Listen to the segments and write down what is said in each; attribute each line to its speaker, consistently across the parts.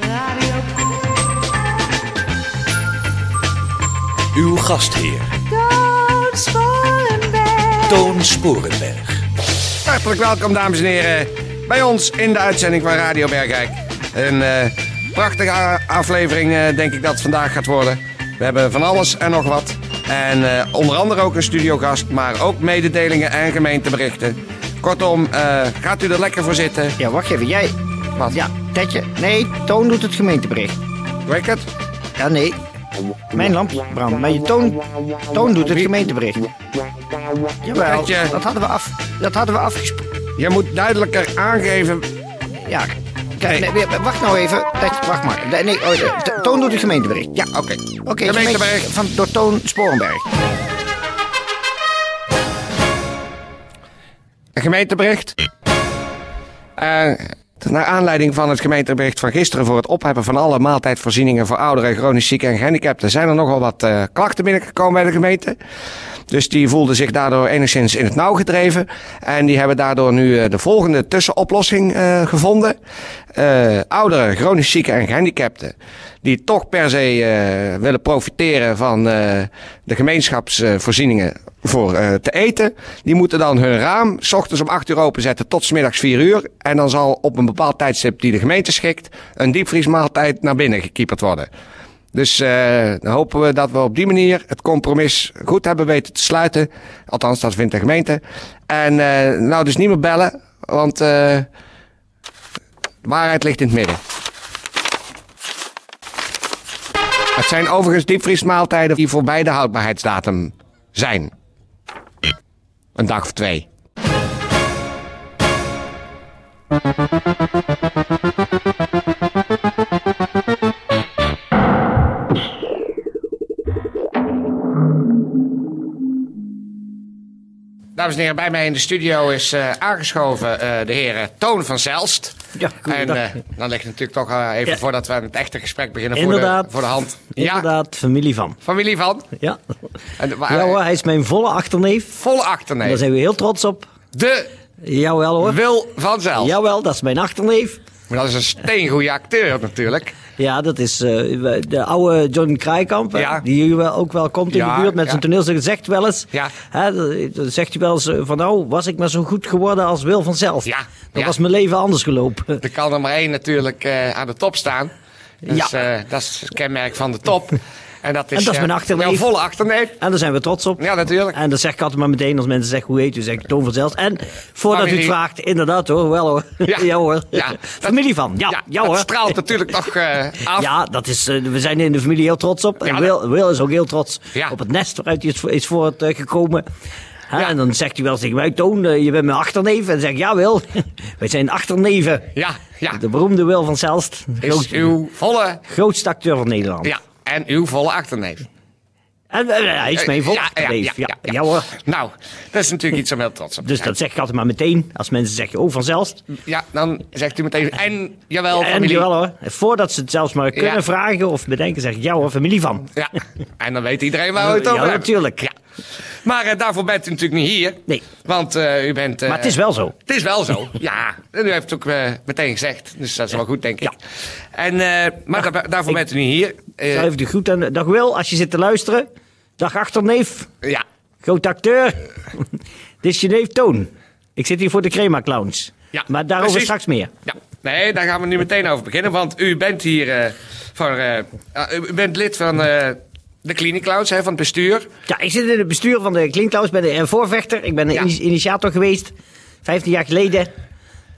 Speaker 1: Radio
Speaker 2: Uw gastheer
Speaker 1: Toon Sporenberg.
Speaker 2: Toon Sporenberg.
Speaker 3: Hartelijk welkom, dames en heren, bij ons in de uitzending van Radio Bergijk. Een eh, prachtige a- aflevering, eh, denk ik dat het vandaag gaat worden. We hebben van alles en nog wat. En eh, onder andere ook een studiogast, maar ook mededelingen en gemeenteberichten. Kortom, eh, gaat u er lekker voor zitten.
Speaker 4: Ja, wacht even. Jij.
Speaker 3: Wat?
Speaker 4: Ja, Tetje. Nee, Toon doet het gemeentebericht.
Speaker 3: Doe ik het?
Speaker 4: Ja, nee. Mijn lampje brandt. Maar je Toon, Toon doet het gemeentebericht. Jawel,
Speaker 3: Tetje.
Speaker 4: dat hadden we, af, dat hadden we afgesproken.
Speaker 3: Je moet duidelijker aangeven.
Speaker 4: Ja. Kijk, nee, wacht nou even. Tetje, wacht maar. Nee, nee, oh, eh, T- Toon doet het gemeentebericht. Ja,
Speaker 3: Oké.
Speaker 4: oké. het
Speaker 3: Gemeentebericht.
Speaker 4: gemeente- Van, door Toon Sporenberg.
Speaker 3: Een gemeentebericht. Eh, naar aanleiding van het gemeentebericht van gisteren voor het opheffen van alle maaltijdvoorzieningen voor ouderen, chronisch zieken en gehandicapten zijn er nogal wat eh, klachten binnengekomen bij de gemeente. Dus die voelden zich daardoor enigszins in het nauw gedreven. En die hebben daardoor nu eh, de volgende tussenoplossing eh, gevonden. Eh, ouderen, chronisch zieken en gehandicapten die toch per se eh, willen profiteren van eh, de gemeenschapsvoorzieningen voor eh, te eten. Die moeten dan hun raam s ochtends om 8 uur openzetten tot smiddags 4 uur. En dan zal op een bepaald tijdstip die de gemeente schikt een diepvriesmaaltijd naar binnen gekieperd worden. Dus eh, dan hopen we dat we op die manier het compromis goed hebben weten te sluiten. Althans, dat vindt de gemeente. En eh, nou dus niet meer bellen, want eh, de waarheid ligt in het midden. Het zijn overigens diepvriesmaaltijden die voorbij de houdbaarheidsdatum zijn. Een dag of twee. Dames en heren, bij mij in de studio is eh, aangeschoven eh, de heer Toon van Zelst.
Speaker 5: Ja,
Speaker 3: En
Speaker 5: goedendag.
Speaker 3: eh, dan ligt het natuurlijk toch eh, even
Speaker 5: Ja.
Speaker 3: voordat we aan het echte gesprek beginnen Voor,
Speaker 5: Inderdaad.
Speaker 3: de, voor de hand. Ja,
Speaker 5: Inderdaad, familie van.
Speaker 3: familie van.
Speaker 5: Ja.
Speaker 3: En, wa-
Speaker 5: ja hoor, hij is mijn volle achterneef.
Speaker 3: Volle achterneef.
Speaker 5: Daar zijn we heel trots op.
Speaker 3: De
Speaker 5: Jawel hoor.
Speaker 3: Wil van Zijl.
Speaker 5: Jawel, dat is mijn achterneef.
Speaker 3: Maar dat is een steengoede acteur natuurlijk.
Speaker 5: Ja, dat is eh, we- de oude John Kraaikamp. hè,
Speaker 3: Ja.
Speaker 5: Die hier wel, ook wel komt in
Speaker 3: Ja,
Speaker 5: de buurt met
Speaker 3: ja.
Speaker 5: zijn toneelstuk. Zegt wel eens.
Speaker 3: Ja.
Speaker 5: Hè, dat- dat zegt hij wel eens eh, van nou, was ik maar zo goed geworden als Wil van Zelf.
Speaker 3: Ja,
Speaker 5: Dan
Speaker 3: ja.
Speaker 5: was mijn leven anders gelopen.
Speaker 3: Er kan er maar één natuurlijk eh, aan de top staan. Dus,
Speaker 5: Ja.
Speaker 3: eh, dat is het kenmerk van de top. En dat is,
Speaker 5: En dat is
Speaker 3: eh,
Speaker 5: mijn Eh, achterneef.
Speaker 3: Jouw volle achterneef.
Speaker 5: En daar zijn we trots op.
Speaker 3: Ja, natuurlijk.
Speaker 5: En dat zeg ik altijd maar meteen als mensen zeggen, hoe heet u? Zeg ik Toon van Zelst. En voordat u het
Speaker 3: Familie.
Speaker 5: vraagt, inderdaad hoor, wel hoor.
Speaker 3: Ja.
Speaker 5: Ja, hoor.
Speaker 3: Ja, dat-
Speaker 5: familie van, ja, ja,
Speaker 3: Ja,
Speaker 5: hoor.
Speaker 3: dat straalt natuurlijk nog eh, af.
Speaker 5: Ja, dat is, eh, we zijn in de familie heel trots op.
Speaker 3: Ja,
Speaker 5: en
Speaker 3: dat-
Speaker 5: Will, Will is ook heel trots
Speaker 3: Ja.
Speaker 5: op het nest waaruit hij is, voor- is voortgekomen. Hè,
Speaker 3: Ja.
Speaker 5: En dan zegt hij wel eens tegen mij, Toon, eh, je bent mijn achterneef. En dan zeg ik, ja Wil, wij zijn achterneven.
Speaker 3: Ja, ja.
Speaker 5: De beroemde Wil van Zelst,
Speaker 3: Is
Speaker 5: groot,
Speaker 3: uw volle...
Speaker 5: grootste acteur van Nederland.
Speaker 3: Ja, en uw volle achterneef.
Speaker 5: En eh, hij is mijn
Speaker 3: Eh, ja, ja,
Speaker 5: volachterneef. Ja, ja, hoor.
Speaker 3: Nou, dat is natuurlijk iets om heel trots op te
Speaker 5: Dus
Speaker 3: zijn.
Speaker 5: dat zeg ik altijd maar meteen. Als mensen zeggen, oh van Zelst.
Speaker 3: Ja, dan zegt u meteen... En, jawel,
Speaker 5: En
Speaker 3: familie.
Speaker 5: jawel hoor. Voordat ze het zelfs maar kunnen
Speaker 3: Ja.
Speaker 5: vragen of bedenken, zeg ik, ja hoor, familie van.
Speaker 3: Ja, en dan weet iedereen waar we het
Speaker 5: Ja,
Speaker 3: over hebben.
Speaker 5: natuurlijk.
Speaker 3: Ja. Maar eh, daarvoor bent u natuurlijk niet hier.
Speaker 5: Nee.
Speaker 3: Want eh, u bent... eh,
Speaker 5: Maar het is wel zo.
Speaker 3: Het is wel zo, ja. En u heeft het ook eh, meteen gezegd. Dus dat is wel goed, denk ik.
Speaker 5: Ja.
Speaker 3: En, eh, maar daar- daarvoor bent u niet hier. Eh,
Speaker 5: Zou even de groet aan dag Wil, als je zit te luisteren. Dag achterneef,
Speaker 3: ja.
Speaker 5: groot acteur. Dit is je neef Toon. Ik zit hier voor de Crema Clowns.
Speaker 3: ja.
Speaker 5: maar daarover
Speaker 3: Precies.
Speaker 5: straks meer.
Speaker 3: Ja. Nee, daar gaan we nu meteen over beginnen. Want u bent hier eh, voor... eh, ah, u u bent lid van eh, de Clinic Clouds, hè, van het bestuur.
Speaker 5: Ja, ik zit in het bestuur van de Klinkhuis, ben een voorvechter. Ik ben een
Speaker 3: Ja.
Speaker 5: ini- initiator geweest, 15 jaar geleden.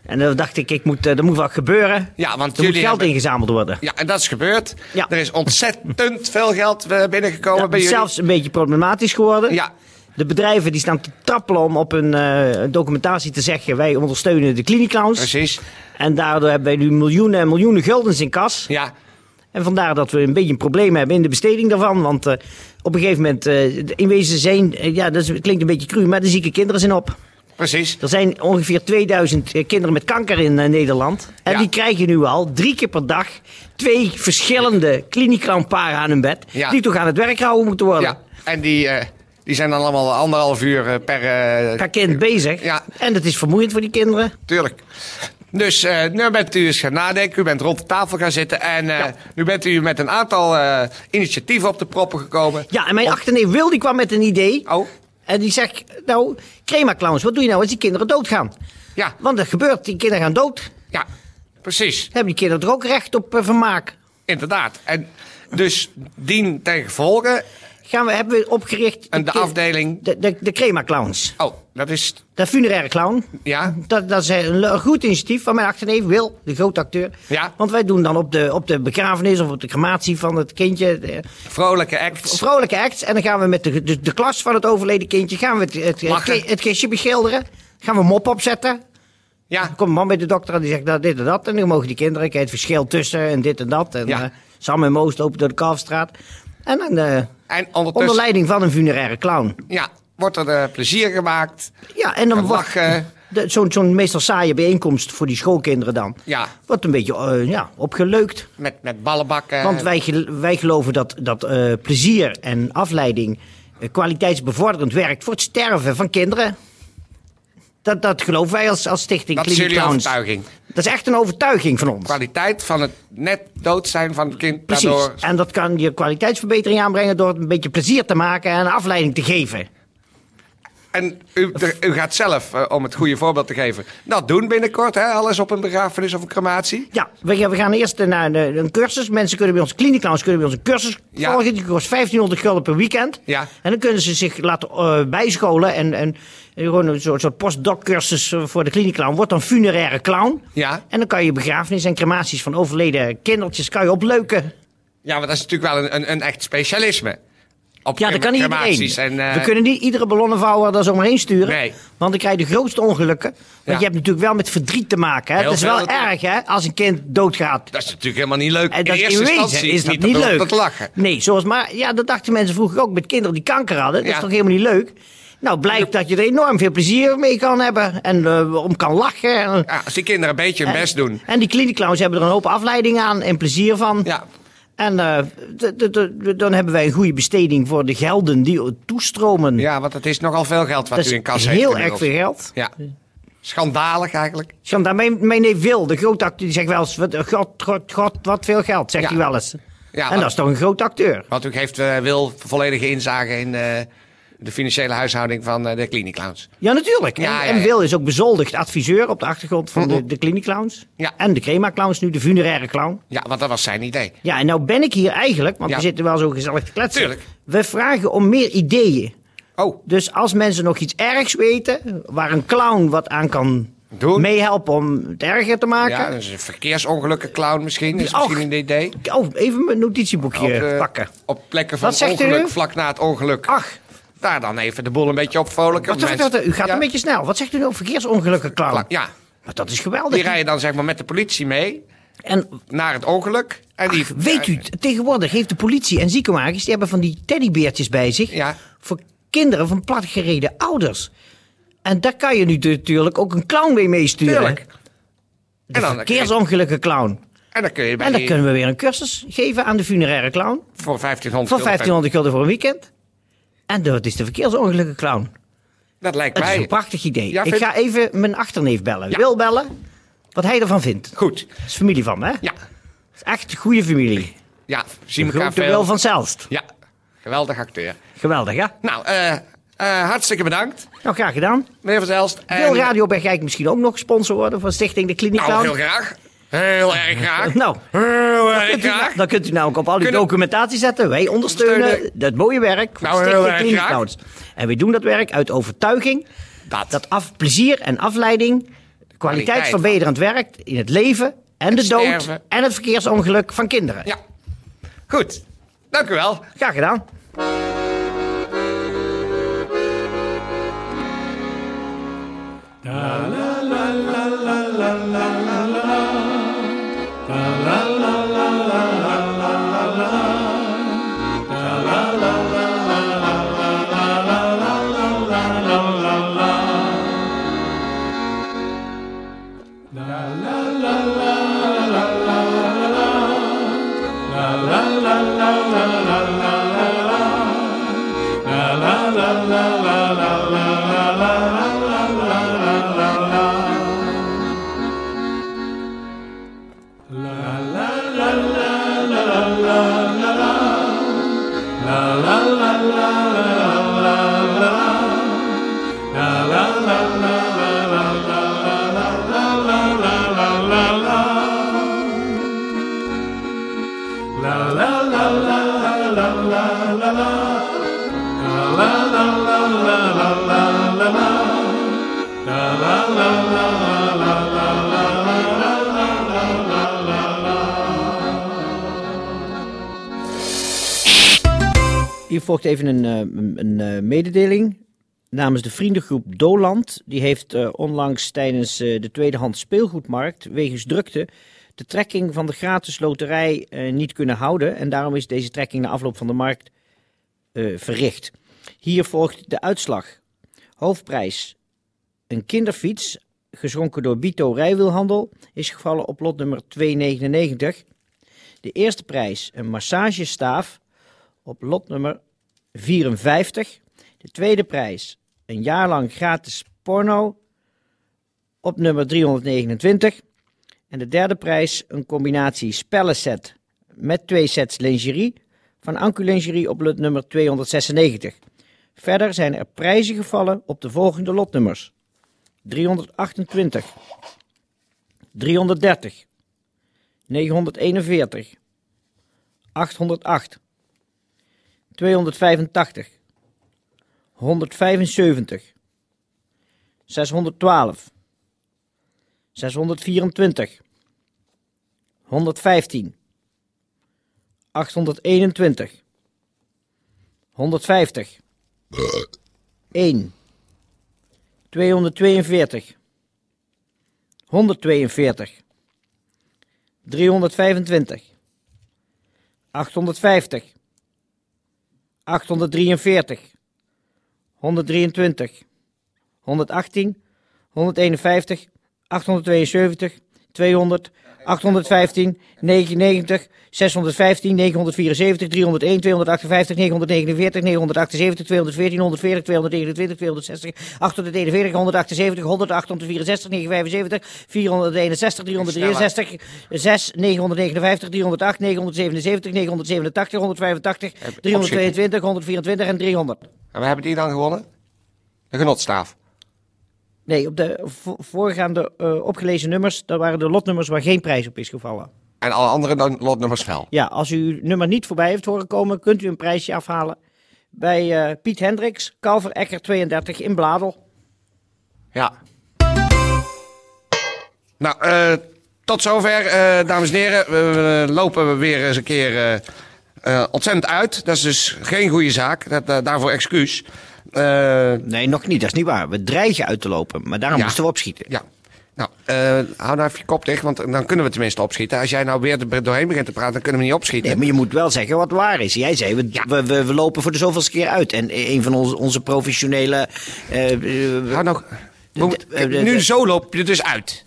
Speaker 5: En dan dacht ik, ik moet, eh, er moet wat gebeuren.
Speaker 3: Ja, want
Speaker 5: er moet
Speaker 3: jullie
Speaker 5: geld
Speaker 3: hebben-
Speaker 5: ingezameld worden.
Speaker 3: Ja, en dat is gebeurd.
Speaker 5: Ja.
Speaker 3: Er is ontzettend veel geld eh, binnengekomen
Speaker 5: Ja,
Speaker 3: bij jullie.
Speaker 5: zelfs een beetje problematisch geworden.
Speaker 3: Ja.
Speaker 5: De bedrijven die staan te trappelen om op hun eh, documentatie te zeggen... wij ondersteunen de kliniclowns.
Speaker 3: Precies.
Speaker 5: En daardoor hebben wij nu miljoenen en miljoenen guldens in kas.
Speaker 3: Ja.
Speaker 5: En vandaar dat we een beetje een probleem hebben in de besteding daarvan. Want eh, op een gegeven moment, eh, de- in wezen zijn, eh, ja, dat is- klinkt een beetje cru, maar de zieke kinderen zijn op.
Speaker 3: Precies.
Speaker 5: Er zijn ongeveer 2000 eh, kinderen met kanker in eh, Nederland. En
Speaker 3: Ja.
Speaker 5: die krijgen nu al drie keer per dag twee verschillende kliniekkramparen aan hun bed.
Speaker 3: Ja.
Speaker 5: Die toch aan het werk gehouden moeten worden.
Speaker 3: Ja, en die, eh, die zijn dan allemaal anderhalf uur eh, per... eh,
Speaker 5: Per kind bezig.
Speaker 3: Ja.
Speaker 5: En dat is vermoeiend voor die kinderen.
Speaker 3: tuurlijk. Dus eh, nu bent u eens gaan nadenken, u bent rond de tafel gaan zitten... en eh, nu bent u met een aantal eh, initiatieven op de proppen gekomen.
Speaker 5: Ja, en mijn achterneef Wil die kwam met een idee.
Speaker 3: Oh,
Speaker 5: En die zegt, nou, crema clowns, wat doe je nou als die kinderen doodgaan?
Speaker 3: ja,
Speaker 5: Want dat gebeurt, die kinderen gaan dood.
Speaker 3: ja, precies.
Speaker 5: Hebben die kinderen er ook recht op eh, vermaak?
Speaker 3: Inderdaad. En dus dien ten gevolge.
Speaker 5: Gaan we, hebben we opgericht...
Speaker 3: En de
Speaker 5: kin-
Speaker 3: afdeling?
Speaker 5: De, de, de crema clowns.
Speaker 3: Oh, dat is.
Speaker 5: De funeraire clown.
Speaker 3: Ja,
Speaker 5: Dat, dat is eh, een le- goed initiatief van mijn achterneef Wil, de grote acteur.
Speaker 3: Ja.
Speaker 5: Want wij doen dan op de, op de begrafenis of op de crematie van het kindje eh,
Speaker 3: vrolijke act.
Speaker 5: vrolijke acts. En dan gaan we met de, de, de klas van het overleden kindje gaan we het, het, het,
Speaker 3: Lachen.
Speaker 5: ki- het kistje beschilderen. Gaan we mop opzetten.
Speaker 3: Ja,
Speaker 5: Dan komt een man bij de dokter en die zegt nou, dit en dat. En dan mogen die kinderen kijken het verschil tussen en dit en dat. En
Speaker 3: Ja.
Speaker 5: eh, Sam en Moos lopen door de Kalfstraat. En dan, eh,
Speaker 3: en
Speaker 5: onder
Speaker 3: ondertussen
Speaker 5: leiding van een funeraire clown.
Speaker 3: ja, wordt er eh, plezier gemaakt.
Speaker 5: Ja, en dan
Speaker 3: Kan
Speaker 5: wordt
Speaker 3: lachen.
Speaker 5: de- zo'n zo'n meestal saaie bijeenkomst voor die schoolkinderen dan.
Speaker 3: Ja.
Speaker 5: Wordt een beetje eh, ja, opgeleukt.
Speaker 3: Met, met ballenbakken.
Speaker 5: Want wij, gel- wij geloven dat, dat eh, plezier en afleiding eh, kwaliteitsbevorderend werkt voor het sterven van kinderen. Dat, dat geloven wij als, als stichting
Speaker 3: dat is
Speaker 5: Kliniek
Speaker 3: jullie
Speaker 5: Clowns.
Speaker 3: overtuiging.
Speaker 5: Dat is echt een overtuiging van ons.
Speaker 3: Kwaliteit van het net dood zijn van het kind.
Speaker 5: Precies.
Speaker 3: Daardoor,
Speaker 5: En dat kan je kwaliteitsverbetering aanbrengen door het een beetje plezier te maken en afleiding te geven.
Speaker 3: en u, er- u gaat zelf, eh, om het goede voorbeeld te geven, dat doen binnenkort. Hè? Alles op een begrafenis of een crematie.
Speaker 5: Ja, we, gaan- we gaan eerst naar een, een cursus. Mensen kunnen bij ons, kliniekclowns kunnen bij ons een cursus
Speaker 3: Ja.
Speaker 5: volgen. Die kost 1500 gulden per weekend.
Speaker 3: Ja.
Speaker 5: En dan kunnen ze zich laten eh, bijscholen. En, en gewoon een soort, soort postdoc cursus eh, voor de kliniekclown. Wordt dan funeraire clown.
Speaker 3: Ja.
Speaker 5: En dan kan je begrafenis en crematies van overleden kindertjes kan je opleuken.
Speaker 3: Ja, want dat is natuurlijk wel een, een, een echt specialisme. Op
Speaker 5: Ja, dat kan niet iedereen.
Speaker 3: crematies en, eh,
Speaker 5: we kunnen niet iedere ballonnenvouwer daar zomaar heen sturen.
Speaker 3: Nee.
Speaker 5: Want dan krijg je de grootste ongelukken. Want
Speaker 3: Ja.
Speaker 5: je hebt natuurlijk wel met verdriet te maken. Hè?
Speaker 3: Heel
Speaker 5: Dat is
Speaker 3: veel
Speaker 5: wel erg
Speaker 3: natuurlijk.
Speaker 5: hè, als een kind doodgaat.
Speaker 3: Dat is natuurlijk helemaal niet leuk.
Speaker 5: En dat
Speaker 3: in
Speaker 5: in
Speaker 3: eerste
Speaker 5: wezen
Speaker 3: instantie
Speaker 5: is dat
Speaker 3: niet,
Speaker 5: niet
Speaker 3: dat
Speaker 5: leuk.
Speaker 3: Dat lachen.
Speaker 5: Nee, zoals maar, ja, dat dachten mensen vroeger ook met kinderen die kanker hadden. Dat
Speaker 3: Ja.
Speaker 5: is toch helemaal niet leuk? Nou, blijkt dat je er enorm veel plezier mee kan hebben en eh, om kan lachen. En,
Speaker 3: Ja, als die kinderen een beetje
Speaker 5: Eh,
Speaker 3: hun best doen.
Speaker 5: en die kliniekclowns hebben er een hoop afleiding aan en plezier van.
Speaker 3: Ja,
Speaker 5: En eh, d- d- d- dan hebben wij een goede besteding voor de gelden die toestromen.
Speaker 3: ja, want het is nogal veel geld wat
Speaker 5: dat
Speaker 3: u
Speaker 5: is
Speaker 3: in kas heeft.
Speaker 5: heel erg
Speaker 3: inmiddels.
Speaker 5: veel geld.
Speaker 3: Ja. Schandalig eigenlijk.
Speaker 5: Schandaal. Mijn, mijn neef Wil, de grote acteur, die zegt wel eens... wat- God, God, God, wat veel geld, zegt
Speaker 3: Ja.
Speaker 5: hij wel eens.
Speaker 3: Ja,
Speaker 5: en
Speaker 3: maar-
Speaker 5: dat is toch een groot acteur.
Speaker 3: Want u geeft eh, Wil volledige inzage in eh, de financiële huishouding van eh, de Clinic Clowns.
Speaker 5: Ja, natuurlijk. En,
Speaker 3: Ja, ja,
Speaker 5: en
Speaker 3: ja.
Speaker 5: Wil is ook bezoldigd adviseur op de achtergrond van de, de kliniekclowns.
Speaker 3: Ja.
Speaker 5: En de crema-clowns nu, de funeraire clown.
Speaker 3: Ja, want dat was zijn idee.
Speaker 5: Ja, en nou ben ik hier eigenlijk, want
Speaker 3: Ja.
Speaker 5: we zitten wel zo gezellig te kletsen.
Speaker 3: Tuurlijk.
Speaker 5: We vragen om meer ideeën.
Speaker 3: Oh,
Speaker 5: Dus als mensen nog iets ergs weten, waar een clown wat aan kan
Speaker 3: Doen.
Speaker 5: meehelpen om het erger te
Speaker 3: ja,
Speaker 5: maken.
Speaker 3: dat is een verkeersongelukken clown misschien. Is
Speaker 5: Och.
Speaker 3: misschien een idee.
Speaker 5: Oh, even mijn notitieboekje
Speaker 3: eh,
Speaker 5: pakken.
Speaker 3: dus- op plekken van
Speaker 5: Wat zegt u?
Speaker 3: ongeluk, vlak na het ongeluk.
Speaker 5: Ach,
Speaker 3: Daar dan even de boel een beetje op vrolijken.
Speaker 5: wat, wat, wat, u gaat
Speaker 3: Ja.
Speaker 5: een beetje snel. Wat zegt u nou? Verkeersongelukken clown.
Speaker 3: Ja,
Speaker 5: Maar dat is geweldig.
Speaker 3: die rijden dan zeg maar met de politie mee
Speaker 5: En
Speaker 3: naar het ongeluk. En die,
Speaker 5: Weet u, t- tegenwoordig heeft de politie en ziekenwagens... die hebben van die teddybeertjes bij zich...
Speaker 3: Ja.
Speaker 5: voor kinderen van platgereden ouders. En daar kan je nu natuurlijk ook een clown mee meesturen.
Speaker 3: Tuurlijk.
Speaker 5: De
Speaker 3: En dan-
Speaker 5: verkeersongelukken clown.
Speaker 3: En dan kun je bij
Speaker 5: En dan
Speaker 3: die-
Speaker 5: kunnen we weer een cursus geven aan de funeraire clown...
Speaker 3: voor 1500
Speaker 5: voor
Speaker 3: euro.
Speaker 5: 1500 gulden voor een weekend. En dat is de verkeersongelukken clown.
Speaker 3: Dat lijkt
Speaker 5: Dat is
Speaker 3: mij.
Speaker 5: een prachtig idee.
Speaker 3: Ja,
Speaker 5: Ik
Speaker 3: vind-
Speaker 5: ga even mijn achterneef bellen.
Speaker 3: Ja.
Speaker 5: Wil bellen, wat hij ervan vindt.
Speaker 3: Goed.
Speaker 5: Dat is familie van me, hè?
Speaker 3: Ja.
Speaker 5: Is Echt goede familie.
Speaker 3: Ja, zien we elkaar
Speaker 5: Grote
Speaker 3: veel.
Speaker 5: Wil van Zelst.
Speaker 3: Ja, geweldig acteur.
Speaker 5: Geweldig, ja?
Speaker 3: Nou, eh, eh, hartstikke bedankt,
Speaker 5: Nou, graag gedaan.
Speaker 3: meneer Van Zelst. En-
Speaker 5: Wil Radio Bergijk misschien ook nog sponsor worden van Stichting De Kliniek
Speaker 3: Nou,
Speaker 5: Clown?
Speaker 3: heel graag. Heel erg graag.
Speaker 5: Nou,
Speaker 3: heel erg
Speaker 5: kunt u,
Speaker 3: graag.
Speaker 5: nou- dan kunt u nou ook op al die
Speaker 3: Kunnen-
Speaker 5: documentatie zetten. Wij ondersteunen
Speaker 3: Ondersteunen.
Speaker 5: dat mooie werk van
Speaker 3: Nou, heel
Speaker 5: Stichting
Speaker 3: erg
Speaker 5: Kliniek
Speaker 3: graag.
Speaker 5: Clowns. En we doen dat werk uit overtuiging dat, af, plezier en afleiding kwaliteitsverbeterend werkt in het leven en de
Speaker 3: Het
Speaker 5: dood
Speaker 3: sterven.
Speaker 5: en het verkeersongeluk van kinderen.
Speaker 3: Ja, goed. Dank u wel.
Speaker 5: Graag gedaan.
Speaker 6: La la la la la la la la la la la la la la
Speaker 5: Hier volgt even een, eh, een, een, eh, mededeling. Namens de vriendengroep Doland. Die heeft eh, onlangs tijdens eh, de tweedehands speelgoedmarkt wegens drukte de trekking van de gratis loterij eh, niet kunnen houden. En daarom is deze trekking na afloop van de markt eh, verricht. Hier volgt de uitslag. Hoofdprijs. Een kinderfiets, geschonken door Bito Rijwielhandel, is gevallen op lot nummer 299. De eerste prijs, een massagestaaf, op lot nummer 54. De tweede prijs, een jaar lang gratis porno op nummer 329. En de derde prijs, een combinatie spellenset met twee sets lingerie van Ancu Lingerie op lot nummer 296. Verder zijn er prijzen gevallen op de volgende lotnummers. 328, 330, 941, 808, 285, 175, 612, 624, 115, 821, 150, 1, 242, 142, 325, 850, 843, 123, 118, 151, 872, 200, 815, 990, 615, 974, 301, 258, 949, 978, 214, 140, 229, 260, 841, 178, 100, 864, 975, 461, 363, 6, 959, 308, 977, 987, 185, 322, 124 en 300.
Speaker 3: En we hebben die dan gewonnen? De genotstaaf.
Speaker 5: Nee, op de vo- voorgaande eh, opgelezen nummers, dat waren de lotnummers waar geen prijs op is gevallen.
Speaker 3: En alle andere dan lotnummers wel.
Speaker 5: Ja, als u uw nummer niet voorbij heeft horen komen, kunt u een prijsje afhalen bij eh, Piet Hendricks, Kalver Ecker 32 in Bladel.
Speaker 3: Ja. Nou, eh, tot zover, eh, dames en heren. We, we lopen weer eens een keer eh, eh, ontzettend uit. Dat is dus geen goede zaak. Dat, eh, daarvoor excuus. Eh,
Speaker 4: Nee, nog niet. Dat is niet waar. We dreigen uit te lopen. Maar daarom
Speaker 3: Ja.
Speaker 4: moesten we opschieten.
Speaker 3: ja. Nou, eh, hou nou even je kop dicht, want dan kunnen we tenminste opschieten. Als jij nou weer er doorheen begint te praten, dan kunnen we niet opschieten.
Speaker 4: Nee, maar je moet wel zeggen wat waar is. Jij zei, we, we, we, we lopen voor de zoveelste keer uit. En e-, een van onze, onze professionele... eh, eh,
Speaker 3: Hou nou... we moeten-
Speaker 4: de- de-
Speaker 3: nu
Speaker 4: de-
Speaker 3: zo loop je dus uit.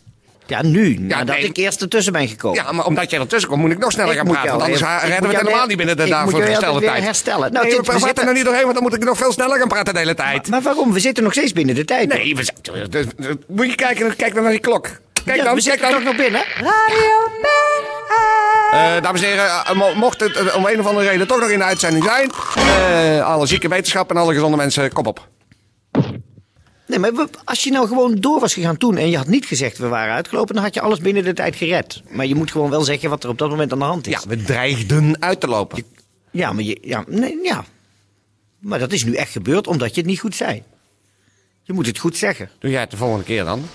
Speaker 4: ja, nu. nadat
Speaker 3: nee.
Speaker 4: ik eerst ertussen ben gekomen.
Speaker 3: Ja, maar omdat jij ertussen komt, moet ik nog sneller
Speaker 4: Oh. Ik
Speaker 3: gaan
Speaker 4: moet
Speaker 3: praten.
Speaker 4: jou
Speaker 3: Want anders
Speaker 4: even-
Speaker 3: ha-
Speaker 4: ik
Speaker 3: redden
Speaker 4: moet
Speaker 3: we het
Speaker 4: jou net-
Speaker 3: helemaal niet binnen de
Speaker 4: ik
Speaker 3: daarvoor
Speaker 4: moet jou
Speaker 3: gestelde
Speaker 4: altijd weer
Speaker 3: tijd.
Speaker 4: herstellen. Nou,
Speaker 3: Nee,
Speaker 4: dit-
Speaker 3: we
Speaker 4: we
Speaker 3: praten
Speaker 4: zitten-
Speaker 3: er niet doorheen, want dan moet ik nog veel sneller gaan praten de hele tijd.
Speaker 4: Maar waarom? We zitten nog steeds binnen de tijd.
Speaker 3: Nee, we zijn- dus- dus- moet je kijken, kijk dan naar die klok. Kijk
Speaker 4: Ja,
Speaker 3: dan,
Speaker 4: we
Speaker 3: kijk
Speaker 4: zitten
Speaker 3: dan.
Speaker 4: toch nog binnen?
Speaker 1: Radio Bergijk.
Speaker 3: Eh, dames en heren, eh, mo- mocht het eh, om een of andere reden toch nog in de uitzending zijn, eh, alle zieke wetenschap en alle gezonde mensen, kom op.
Speaker 4: Nee, maar we- als je nou gewoon door was gegaan toen en je had niet gezegd we waren uitgelopen, dan had je alles binnen de tijd gered. Maar je moet gewoon wel zeggen wat er op dat moment aan de hand is.
Speaker 3: Ja, we dreigden uit te lopen.
Speaker 4: Ja, maar, je, ja, nee, ja. maar dat is nu echt gebeurd omdat je het niet goed zei. Je moet het goed zeggen.
Speaker 3: Doe jij het de volgende keer dan?